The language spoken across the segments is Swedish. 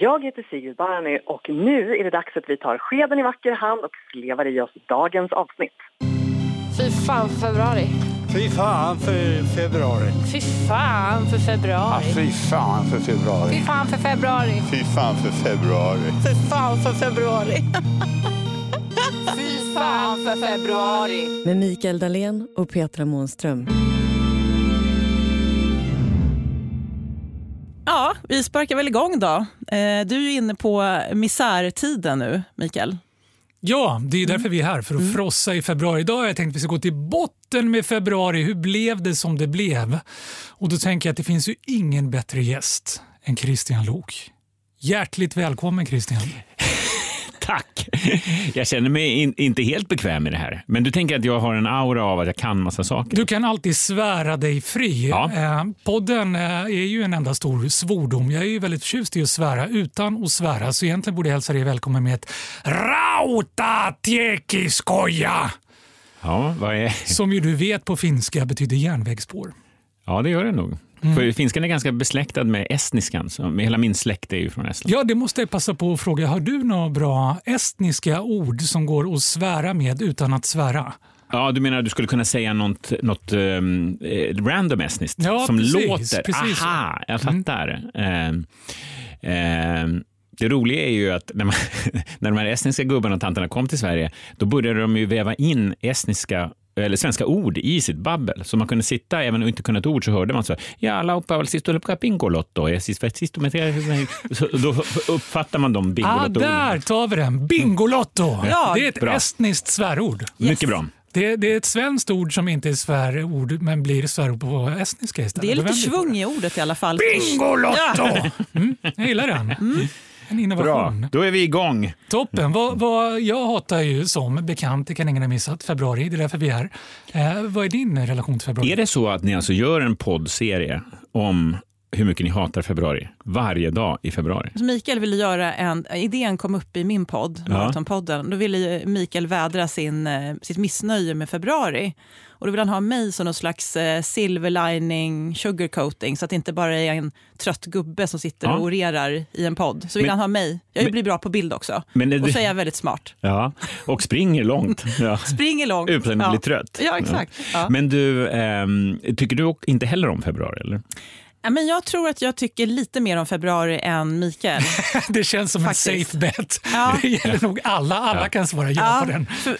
Jag heter Sigrid Barny och nu är det dags att vi tar skeden i vacker hand och slevar i oss dagens avsnitt. Fy fan för februari. Fy fan för februari. Fy fan för februari. Fy fan för februari. Fy fan för februari. Fy fan för februari. Fy fan för februari. Fy fan för februari. Med Mikael Dahlén och Petra Månström. Ja, vi sparkar väl igång då. Eh, Du är ju inne på misärtiden nu, Mikael. Ja, det är ju därför vi är här, för att frossa i februari. Idag har jag tänkt att vi ska gå till botten med februari. Hur blev det som det blev? Och då tänker jag att det finns ju ingen bättre gäst än Christian Lok. Hjärtligt välkommen Christian. Tack! Jag känner mig in, inte helt bekväm i det här. Men du tänker att jag har en aura av att jag kan massa saker? Du kan alltid svära dig fri. Ja. Eh, podden eh, är ju en enda stor svordom. Jag är ju väldigt förtjust i att svära utan att svära, så egentligen borde jag hälsa dig välkommen med ett rautatekiskoja! Ja, vad är... Som ju du vet på finska betyder järnvägsspår. ja det gör det nog. För finskan är ganska besläktad med estniskan. Så men hela min släkt är ju från Estland. Ja, det måste jag passa på att fråga. Har du några bra estniska ord som går att svära med utan att svära? Ja, du menar att du skulle kunna säga något, något ehm, eh, random estniskt Ja, som precis, låter... precis. Mm. Aha, jag fattar. Ehm, ehm, det roliga är ju att när, man, när de här estniska gubbarna och tanterna kom till Sverige, då började de ju väva in estniska eller svenska ord i sitt babbel. Så man kunde sitta, även om man inte kunde ett ord, så hörde man så här, ja, laupaval sistolupka pingolotto, ja, sist- sist- Så då uppfattar man de Ah, bingolotto Mm. där tar vi den! Bingolotto! Ja, det är ett bra. estniskt svärord. Mycket bra. Det, det är ett svenskt ord som inte är svärord, men blir svärord på estniska istället. Det är Då lite vänder vi på svung i ordet i alla fall. det. Bingolotto! Mm, jag gillar den. Mm. En Bra, innovation. då är vi igång. Toppen. Vad, vad, jag hatar ju som bekant, det kan ingen ha missat, februari. Det är därför vi är här. Eh, vad är din relation till februari? Är det så att ni alltså gör en poddserie om hur mycket ni hatar februari varje dag i februari? Så Mikael ville göra en, idén kom upp i min podd, Ja. Maratonpodden. Då ville ju Mikael vädra sin, eh, sitt missnöje med februari. Och då vill han ha mig som någon slags eh, silver lining sugarcoating så att det inte bara är en trött gubbe som sitter Ja. och orerar i en podd. Så vill Men- han ha mig. Jag men- blir bra på bild också. Men är Och du- så är jag väldigt smart. Ja, och springer långt. Ja. Springer långt. Utan att ja. bli trött. Ja, exakt. Ja. Men du, ehm, tycker du och- inte heller om februari? Eller? Ja, Men jag tror att jag tycker lite mer om februari än Mikael. Det känns som Faktiskt. en safe bet. Ja. Det gäller nog alla. Alla kan svara ja, på den. för,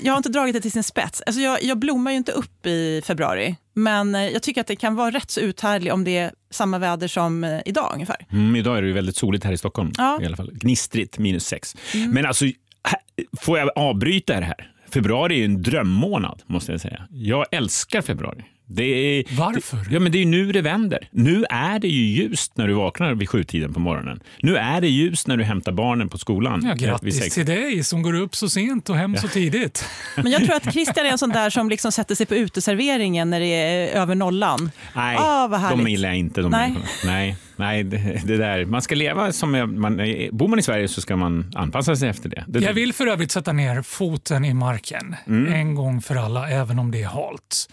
jag har inte dragit det till sin spets. Alltså jag, jag blommar ju inte upp i februari, men eh, jag tycker att det kan vara rätt så uthärdligt om det är samma väder som eh, idag ungefär. Mm, idag är det ju väldigt soligt här i Stockholm. Ja. I alla fall. Gnistrigt, minus sex. Mm. Men alltså, här- får jag avbryta det här? Februari är ju en drömmånad, måste jag säga. Jag älskar februari. Det är, Varför? Ja, men det är ju nu det vänder. Nu är det ju ljust när du vaknar vid sjutiden på morgonen. Nu är det ljust när du hämtar barnen på skolan. Ja, vid grattis sex. till dig som går upp så sent och hem så tidigt. Men jag tror att Christian är en sån där som liksom sätter sig på uteserveringen när det är över nollan. Nej, Ah, vad härligt. de gillar jag inte. De Nej. människorna. Nej, nej det, det där. Man ska leva som... jag- Man, bor man i Sverige så ska man anpassa sig efter det. det Jag vill för övrigt sätta ner foten i marken Mm. en gång för alla, även om det är halt.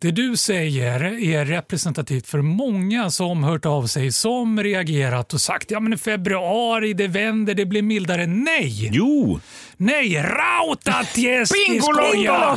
Det du säger är representativt för många som hört av sig, som reagerat och sagt ja men i februari, det vänder, det blir mildare. Nej! Jo! Nej! Rautatiestiskoja!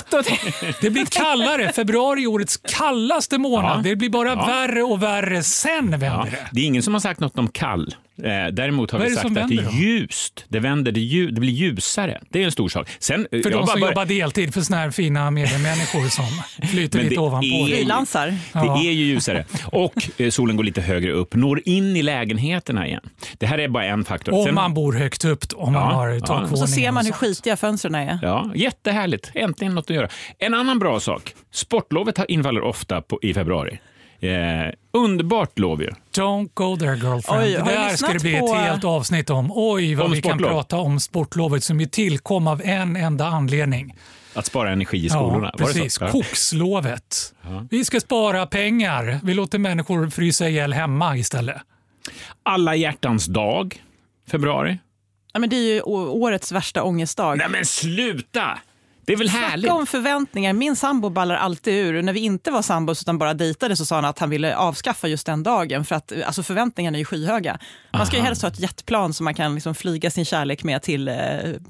Det blir kallare. Februari är årets kallaste månad. Ja. Det blir bara värre och värre. Sen vänder Ja, det. det är ingen som har sagt något om kall. Eh, däremot har Vad vi är det sagt som att det vänder då? är ljust. Det vänder, det, är ljus, det blir ljusare. Det är en stor sak. Sen, eh, För de som jobbar deltid för såna här fina mediemänniskor som flyter Men lite det ovanpå. är- det. Frilansar. Ja. Det är ju ljusare. Och eh, solen går lite högre upp, når in i lägenheterna igen. Det här är bara en faktor. Om Sen- man bor högt upp, om man Ja, har ja. takvåning. Och Så ser man hur och skitiga fönstren är. Ja, jättehärligt. Äntligen något att göra. En annan bra sak. Sportlovet har- infaller ofta på, i februari. Eh, underbart lov ju. Don't go there girlfriend. Oj, det har jag där ska det lyssnat bli ett på- eh, helt avsnitt om. Oj, vad Om vi kan sportlov. prata om sportlovet som ju tillkom av en enda anledning. Att spara energi i Ja, skolorna. Var det precis. så? Ja. Kokslovet. Vi ska spara pengar. Vi låter människor frysa ihjäl hemma istället. Alla hjärtans dag, februari. Ja, men det är ju å- årets värsta ångestdag. Nej men sluta! Det är väl härligt? Snacka om förväntningar. Min sambo ballar alltid ur. När vi inte var sambos utan bara dejtade så sa han att han ville avskaffa just den dagen för att alltså förväntningarna är ju skyhöga. Man ska ju Aha. helst ha ett jetplan som man kan liksom flyga sin kärlek med till eh,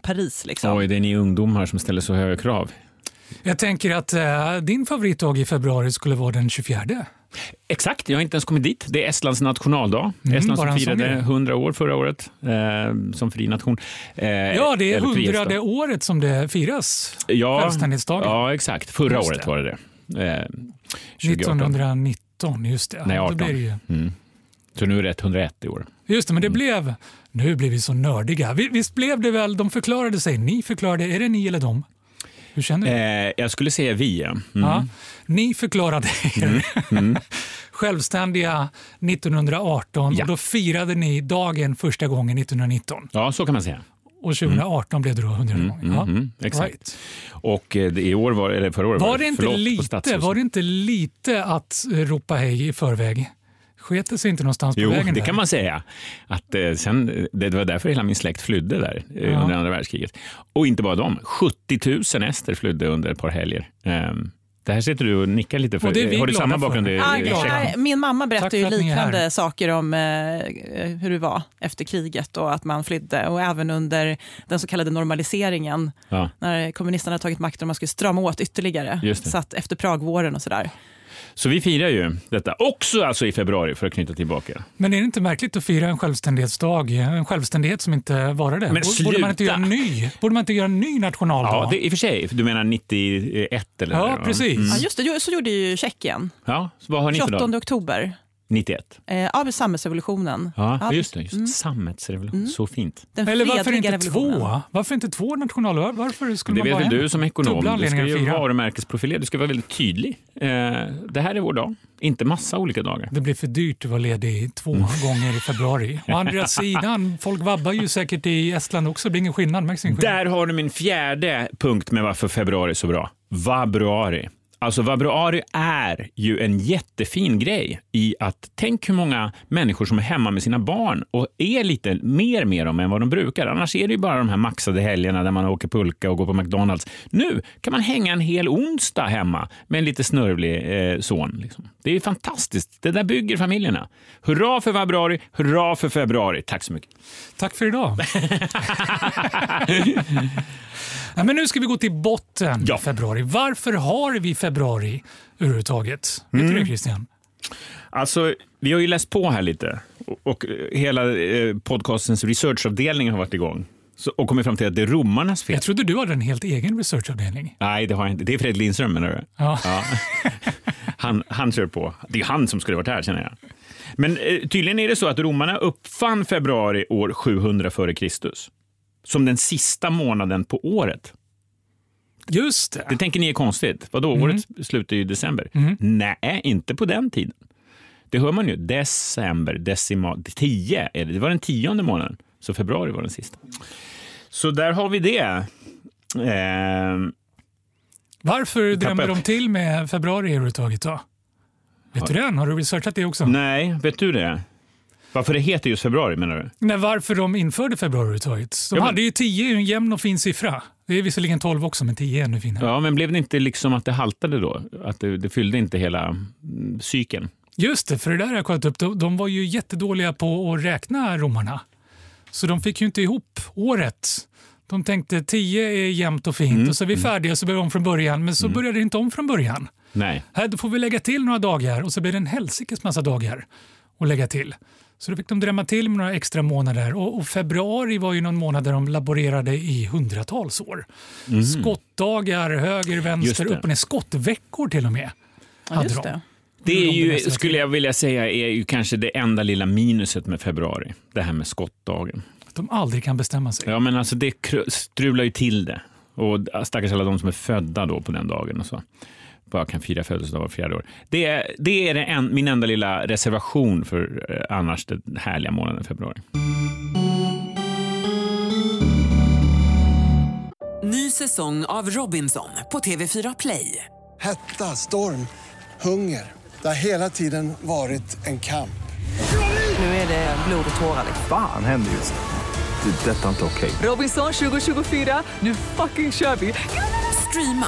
Paris. Liksom. Oj, det är ni ungdomar som ställer så höga krav. Jag tänker att eh, din favoritdag i februari skulle vara den 24. Exakt, jag har inte ens kommit dit. Det är Estlands nationaldag. Mm, Estland bara som en sån firade grej. 100 år förra året eh, som fri nation. Eh, Ja, det är eller frihetsdag. hundrade året som det firas. ja, Självständighetsdagen. Ja, exakt. Förra Just året det. var det det. Eh, 2018. 1919, just det. Nej, Ja, Då 18. blir det ju. Mm. Så nu är det 101 i år. Just det, men det Mm. blev... Nu blir vi så nördiga. Vi- Visst blev det väl, de förklarade sig, ni förklarade, är det ni eller de? Hur känner du? Eh, jag skulle säga vi. ja. Mm. Mm. Ja, ni förklarade er självständiga 1918 Ja. och då firade ni dagen första gången 1919. Ja, så kan man säga. Och 2018 blev det då 100 gånger. mm, Ja. mm, exakt. Right. Och eh, det- i år var, eller förra året Var, det inte förlåt på lite, Stadshuset. var det inte lite att eh, ropa hej i förväg? Sket det sig inte någonstans Jo, på vägen? det där? kan man säga. Att, eh, sen, eh, det var därför hela min släkt flydde där eh, Ja. under andra världskriget. Och inte bara de, 70 000 ester flydde under ett par helger. Ehm, det här sitter du och nickar lite för. Och det är vi Har du glada samma för. bakgrund? i- Ah, i glada. Tjeckien? nej, min mamma Tack berättar för ju att ni är här. liknande saker om eh, hur det var efter kriget och att man flydde och även under den så kallade normaliseringen Ja. när kommunisterna tagit makten och man skulle strama åt ytterligare. Just det. Så att efter Pragvåren och sådär. Så vi firar ju detta också alltså i februari för att knyta tillbaka. Men är det inte märkligt att fira en självständighetsdag, en självständighet som inte varade? Men Borde- Borde man inte göra sluta! en ny, borde man inte göra en ny nationaldag? Ja, det, mm. i och för sig. Du menar 91 eller? Ja, vad det var? precis. Ja, just det, ju- så gjorde ju Tjeckien. Ja, så vad har ni för 28 dag? oktober, 91. eh, av samhällsrevolutionen. Ja, Ja, just det. Just. Mm. det. Sammetsrevolution. Så fint. Den Eller varför fredliga inte revolutionen. två? Varför inte två nationaldagar? Varför skulle Det man vet bara väl en? du som Dubbla ekonom. Du ska anledningar att ju fira. varumärkesprofilera. Du ska vara väldigt tydlig. Eh, det här är vår dag. Inte massa olika dagar. Det blir för dyrt att vara ledig två Mm. gånger i februari. Å andra sidan, folk vabbar ju säkert i Estland också. Det blir ingen skillnad. Märks ingen skillnad. Där har du min fjärde punkt med varför februari är så bra. Vabruari. Alltså vabruari är ju en jättefin grej i att tänk hur många människor som är hemma med sina barn och är lite mer med dem än vad de brukar. Annars är det ju bara de här maxade helgerna där man åker pulka och går på McDonalds. Nu kan man hänga en hel onsdag hemma med en lite snörvlig eh, son. Liksom. Det är fantastiskt. Det där bygger familjerna. Hurra för vabruari, hurra för februari. Tack så mycket. Tack för idag. Nej, men nu ska vi gå till botten Ja. ja. februari. Varför har vi februari överhuvudtaget? Vet du Mm. det Christian? Alltså, vi har ju läst på här lite och, och eh, hela eh, podcastens researchavdelning har varit igång så, och kommit fram till att det är romarnas fel. Jag trodde du hade en helt egen researchavdelning. Nej, det har jag inte. Det är Fredrik Lindström, menar du? Ja. Han, han kör på. Det är han som skulle varit här, känner jag. Men eh, tydligen är det så att romarna uppfann februari år 700 före Kristus som den sista månaden på året. Just det. Mm. Det tänker ni är konstigt. Vadå, året slutar ju i december. Nej, inte på den tiden. Det hör man ju. December, decimal, tio är det. Det var den tionde månaden. Så februari var den sista. Så där har vi det. Ehm, Varför drämde tappade- de till med februari överhuvudtaget då? Vet du den? Har du researchat det också? nej, vet du det? Varför det heter just februari menar du? Nej, varför de införde februari överhuvudtaget. De Ja, men- hade ju 10 är ju en jämn och fin siffra. Det är visserligen 12 också, men 10 är ännu finare. Ja, men blev det inte liksom att det haltade då? Att det, det fyllde inte hela mm, cykeln? Just det, för det där har jag kollat upp. De, de var ju jättedåliga på att räkna romarna. Så de fick ju inte ihop året. De tänkte 10 är jämnt och Mm, fint och så är vi färdiga så börjar vi om från början. Men så började det inte om från början. Nej. Här, då får vi lägga till några dagar och så blir det en helsikes massa dagar att lägga till. Så då fick de drämma till med några extra månader och, och februari var ju någon månad där de laborerade i hundratals år. Skottdagar, höger, Mm. Just vänster, det. upp och ner. Skottveckor till och med. Ja, hade just de. det. Det är de ju, bästa skulle jag vilja säga, är ju kanske det enda lilla minuset med februari. Det här med skottdagen. Att de aldrig kan bestämma sig. Ja, men alltså det kru- strular ju till det. Och äh, stackars alla de som är födda då på den dagen och så. Bara kan fira födelsedag var fjärde år. Det är, det är det en, min enda lilla reservation för eh, annars den härliga månaden februari. Ny säsong av Robinson på TV4 Play. Hetta, storm, hunger. Det har hela tiden varit en kamp. Nu är det blod och tårar. liksom. Fan händer just det. Det är detta inte okej. Robinson 2024, nu fucking kör vi! Streama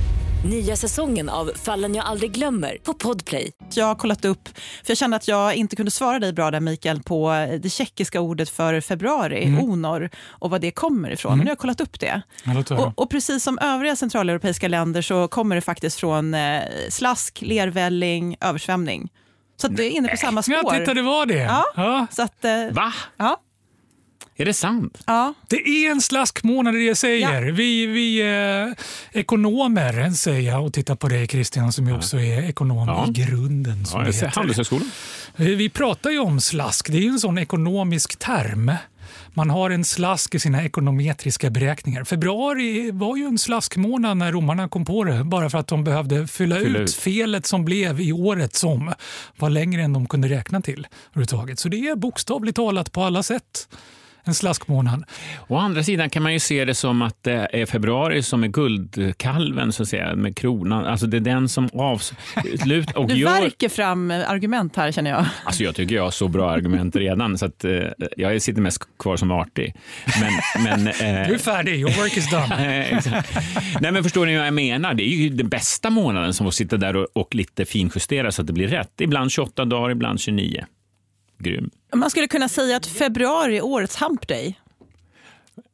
Nya säsongen av Fallen jag aldrig glömmer på Podplay. Jag har kollat upp, för jag kände att jag inte kunde svara dig bra där Mikael, på det tjeckiska ordet för februari, Mm. onor, och vad det kommer ifrån. Mm. Nu har jag kollat upp det. Ja, låt höra. Och, och precis som övriga centraleuropeiska länder så kommer det faktiskt från eh, slask, lervälling, översvämning. Så att det är inne på samma spår. Ja, titta, det var det. Ja. Ja. Så att, eh, Va? Ja. Är det sant? Ja. Det är en slaskmånad i det jag säger. Vi, vi eh, ekonomer säger jag och tittar på dig Christian som ju också är ekonom Ja. i grunden. Som Ja, det jag ser heter. Handelshögskolan. Eh, Vi pratar ju om slask. Det är ju en sån ekonomisk term. Man har en slask i sina ekonometriska beräkningar. Februari var ju en slaskmånad när romarna kom på det bara för att de behövde fylla, Fylla ut ut. felet som blev i året som var längre än de kunde räkna till. överhuvudtaget. Så det är bokstavligt talat på alla sätt en slaskmånad. Å andra sidan kan man ju se det som att det är februari som är guldkalven, så att säga, med kronan. Alltså det är den som avslutar och Du gör... värker fram eh, argument här känner jag. Alltså jag tycker jag har så bra argument redan, så att, eh, jag sitter mest kvar som artig. Men, men, eh, Du är färdig, your work is done. Eh, exakt. Nej, men förstår ni vad jag menar? Det är ju den bästa månaden som att sitta där och, och lite finjustera så att det blir rätt. Ibland 28 dagar, ibland 29. Grym. Man skulle kunna säga att februari är årets hump day.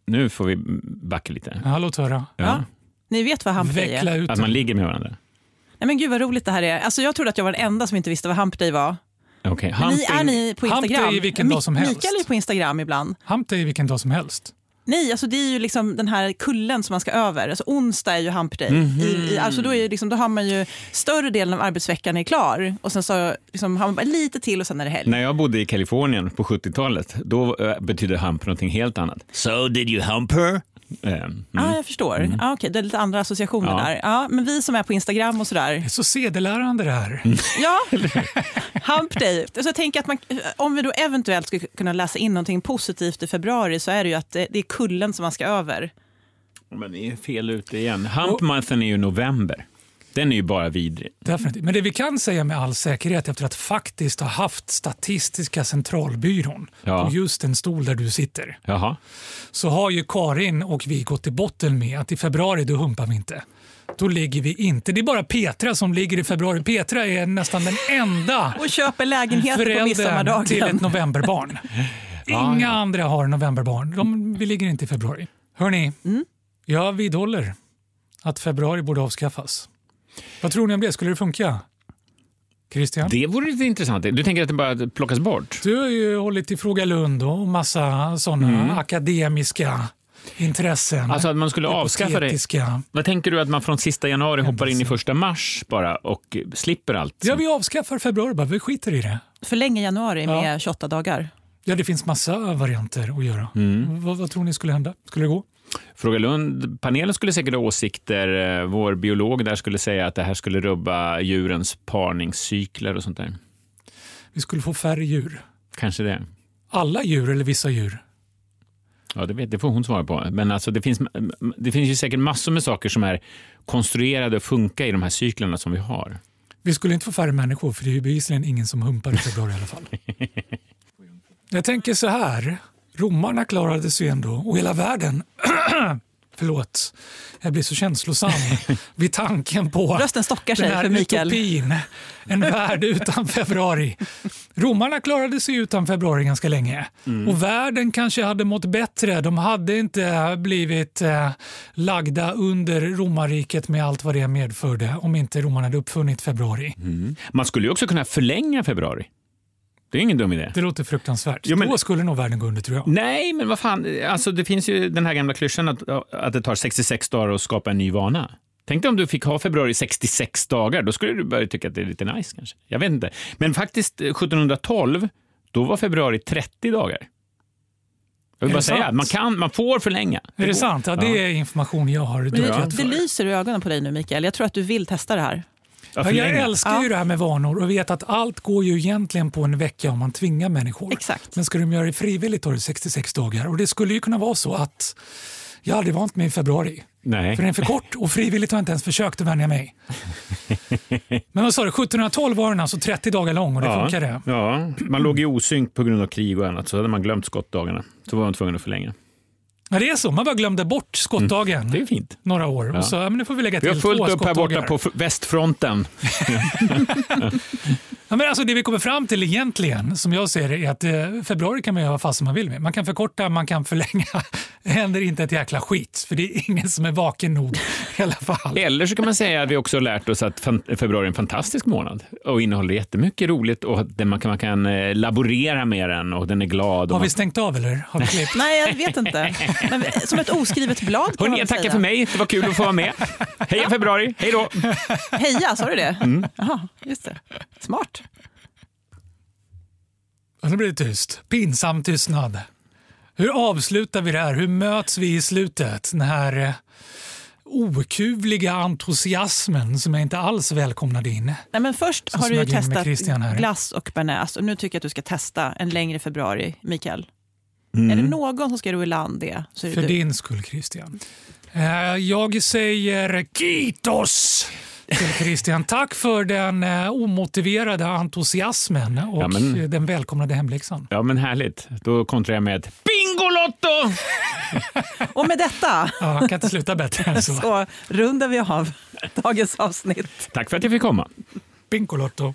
Nu får vi backa lite. Ja, låt höra. Ja. Ni vet vad hump day är? Veckla ut Att man ligger med varandra. Nej, men gud vad roligt det här är. Alltså, jag trodde att jag var den enda som inte visste vad hump day var. Okej, Men Ni, humping- är ni på Hump day Instagram? är vilken Mi- dag som helst. Mikael är på Instagram ibland. Hamp dig vilken dag som helst. Nej, alltså det är ju liksom den här kullen som man ska över. Alltså onsdag är ju hump day. Mhm. I, i, alltså då, är ju liksom, då har man ju större delen av arbetsveckan är klar och sen så liksom, har man bara lite till och sen är det helg. När jag bodde i Kalifornien på 70-talet, då eh, betydde hump någonting helt annat. So did you hump her? Eh, mm. Ja, ah, jag förstår. Ah, okej, Det är lite andra associationer Ja. där. Ja, men vi som är på Instagram och sådär. Det är så sedelärande det här. Ja, hump day. Så jag tänker att man, om vi då eventuellt skulle kunna läsa in någonting positivt i februari så är det ju att det, det är kullen som man ska över. Men ni är fel ute igen. Hump monthen är ju november. Den är ju bara vidrig. Definitivt. Men det vi kan säga med all säkerhet efter att faktiskt ha haft Statistiska centralbyrån Ja. på just den stol där du sitter, Jaha. så har ju Karin och vi gått till botten med att i februari då humpar vi inte. Då ligger vi inte. Det är bara Petra som ligger i februari. Petra är nästan den enda Och köper lägenhet på föräldern till midsommardagen. ett novemberbarn. Inga andra har novemberbarn. De, vi ligger inte i februari. Hörni, Mm. jag vidhåller att februari borde avskaffas. Vad tror ni om det? Skulle det funka? Christian? Det vore lite intressant. Du tänker att det bara plockas bort? Du har ju hållit i Fråga Lund och massa sådana akademiska intressen. Mm. Alltså att man skulle avskaffa det? Hypotetiska. Vad tänker du att man från sista januari hoppar in i första mars bara och slipper allt? Ja, vi avskaffar februari bara. Vi skiter i det. Förlänga januari med 28 dagar. Ja, det finns massa varianter att göra. Mm. Vad, vad tror ni skulle hända? Skulle det gå? Fråga Lund-panelen skulle säkert ha åsikter. Eh, Vår biolog där skulle säga att det här skulle rubba djurens parningscykler och sånt där. Vi skulle få färre djur. Kanske det. Alla djur eller vissa djur? Ja, det, vet, det får hon svara på. Men alltså, det, finns, det finns ju säkert massor med saker som är konstruerade och funkar i de här cyklerna som vi har. Vi skulle inte få färre människor för det är ju bevisligen ingen som humpar i februari i alla fall. Jag tänker så här. Romarna klarade sig ändå och hela världen. Förlåt, jag blir så känslosam vid tanken på Rösten stockar sig den här för Mikael. utopin. En värld utan februari. Romarna klarade sig utan februari ganska länge. Mm. Och världen kanske hade mått bättre. De hade inte blivit eh, lagda under romarriket med allt vad det medförde om inte romarna hade uppfunnit februari. Mm. Man skulle ju också kunna förlänga februari. Det är ingen dum idé. Det låter fruktansvärt. Jo, men- Då skulle nog världen gå under tror jag. Nej, men vad fan. Alltså, det finns ju den här gamla klyschan att, att det tar 66 dagar att skapa en ny vana. Tänk dig om du fick ha februari 66 dagar. Då skulle du börja tycka att det är lite nice kanske. Jag vet inte. Men faktiskt eh, 1712, då var februari 30 dagar. Är Jag vill det bara säga, sant? man, kan, man får förlänga. Är det sant? Ja, det är information jag har Men dukat det, det för. lyser i ögonen på dig nu Mikael. Jag tror att du vill testa det här. Ja, jag älskar ju det här med vanor och vet att allt går ju egentligen på en vecka om man tvingar människor. Exakt. Men ska de göra det frivilligt då är det 66 dagar och det skulle ju kunna vara så att jag aldrig vant mig i februari. Nej. För den är för kort och frivilligt har jag inte ens försökt att vänja mig. Men vad sa du, 1712 var den alltså 30 dagar lång och det ja, funkade. Ja, man låg i osynk på grund av krig och annat, så hade man glömt skottdagarna. Så var man tvungen att förlänga. Ja, det är så, man bara glömde bort skottdagen det är fint. några år. Ja. Och så, ja, men nu får vi lägga Vi till har fullt två upp här borta skottdagar. på f- västfronten. Ja, men alltså det vi kommer fram till egentligen, som jag ser det, är att eh, februari kan man göra vad fast man vill med. Man kan förkorta, man kan förlänga. Det händer inte ett jäkla skit, för det är ingen som är vaken nog i alla fall. Eller så kan man säga att vi också har lärt oss att fan- februari är en fantastisk månad och innehåller jättemycket roligt och att den- man kan, man kan eh, laborera med den och den är glad. Har och vi stängt av eller? Har vi klippt? Nej, jag vet inte. Men som ett oskrivet blad kan Hörrni, man jag väl tackar säga. för mig. Det var kul att få vara med. Heja februari! Hej då! Heja, sa du det? Mm. Jaha, just det. Smart. Och nu blir det tyst. Pinsam tystnad. Hur avslutar vi det här? Hur möts vi i slutet? Den här eh, okuvliga entusiasmen som jag inte alls välkomnade in. Nej, men först Så har du ju smög jag in med testat Christian här. glass och bearnaise och nu tycker jag att du ska testa en längre februari, Mikael. Är det någon som ska ro i land det så är det För du. din skull, Christian. Eh, Jag säger kitos till Christian. Tack för den eh, omotiverade entusiasmen och Ja, men- eh, den välkomnade hemläxan. Ja, men härligt. Då kontrar jag med Bingolotto! Och med detta Ja, jag kan inte sluta bättre än så. så rundar vi av dagens avsnitt. Tack för att jag fick komma. Pinkolotto.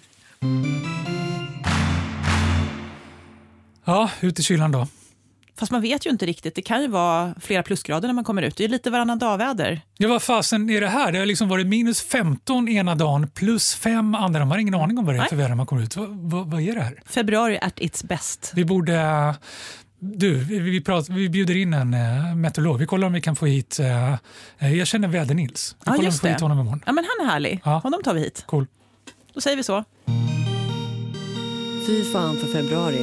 Ja, ut i kylan då. Fast man vet ju inte riktigt. Det kan ju vara flera plusgrader när man kommer ut. Det är ju lite varannan dag-väder. Ja, vad fasen är det här? Det har liksom varit minus 15 ena dagen, plus 5 andra. Man har ingen aning om vad det är för väder när man kommer ut. Vad, vad, vad är det här? Februari at its best. Vi borde... Du, vi, vi, pratar, vi bjuder in en eh, meteorolog. Vi kollar om vi kan få hit... eh, eh, jag känner Väder-Nils. Vi Ja, kollar om vi just får hit det. honom imorgon. Ja, men han är härlig. Honom tar vi hit. Cool. Då säger vi så. Fy fan för februari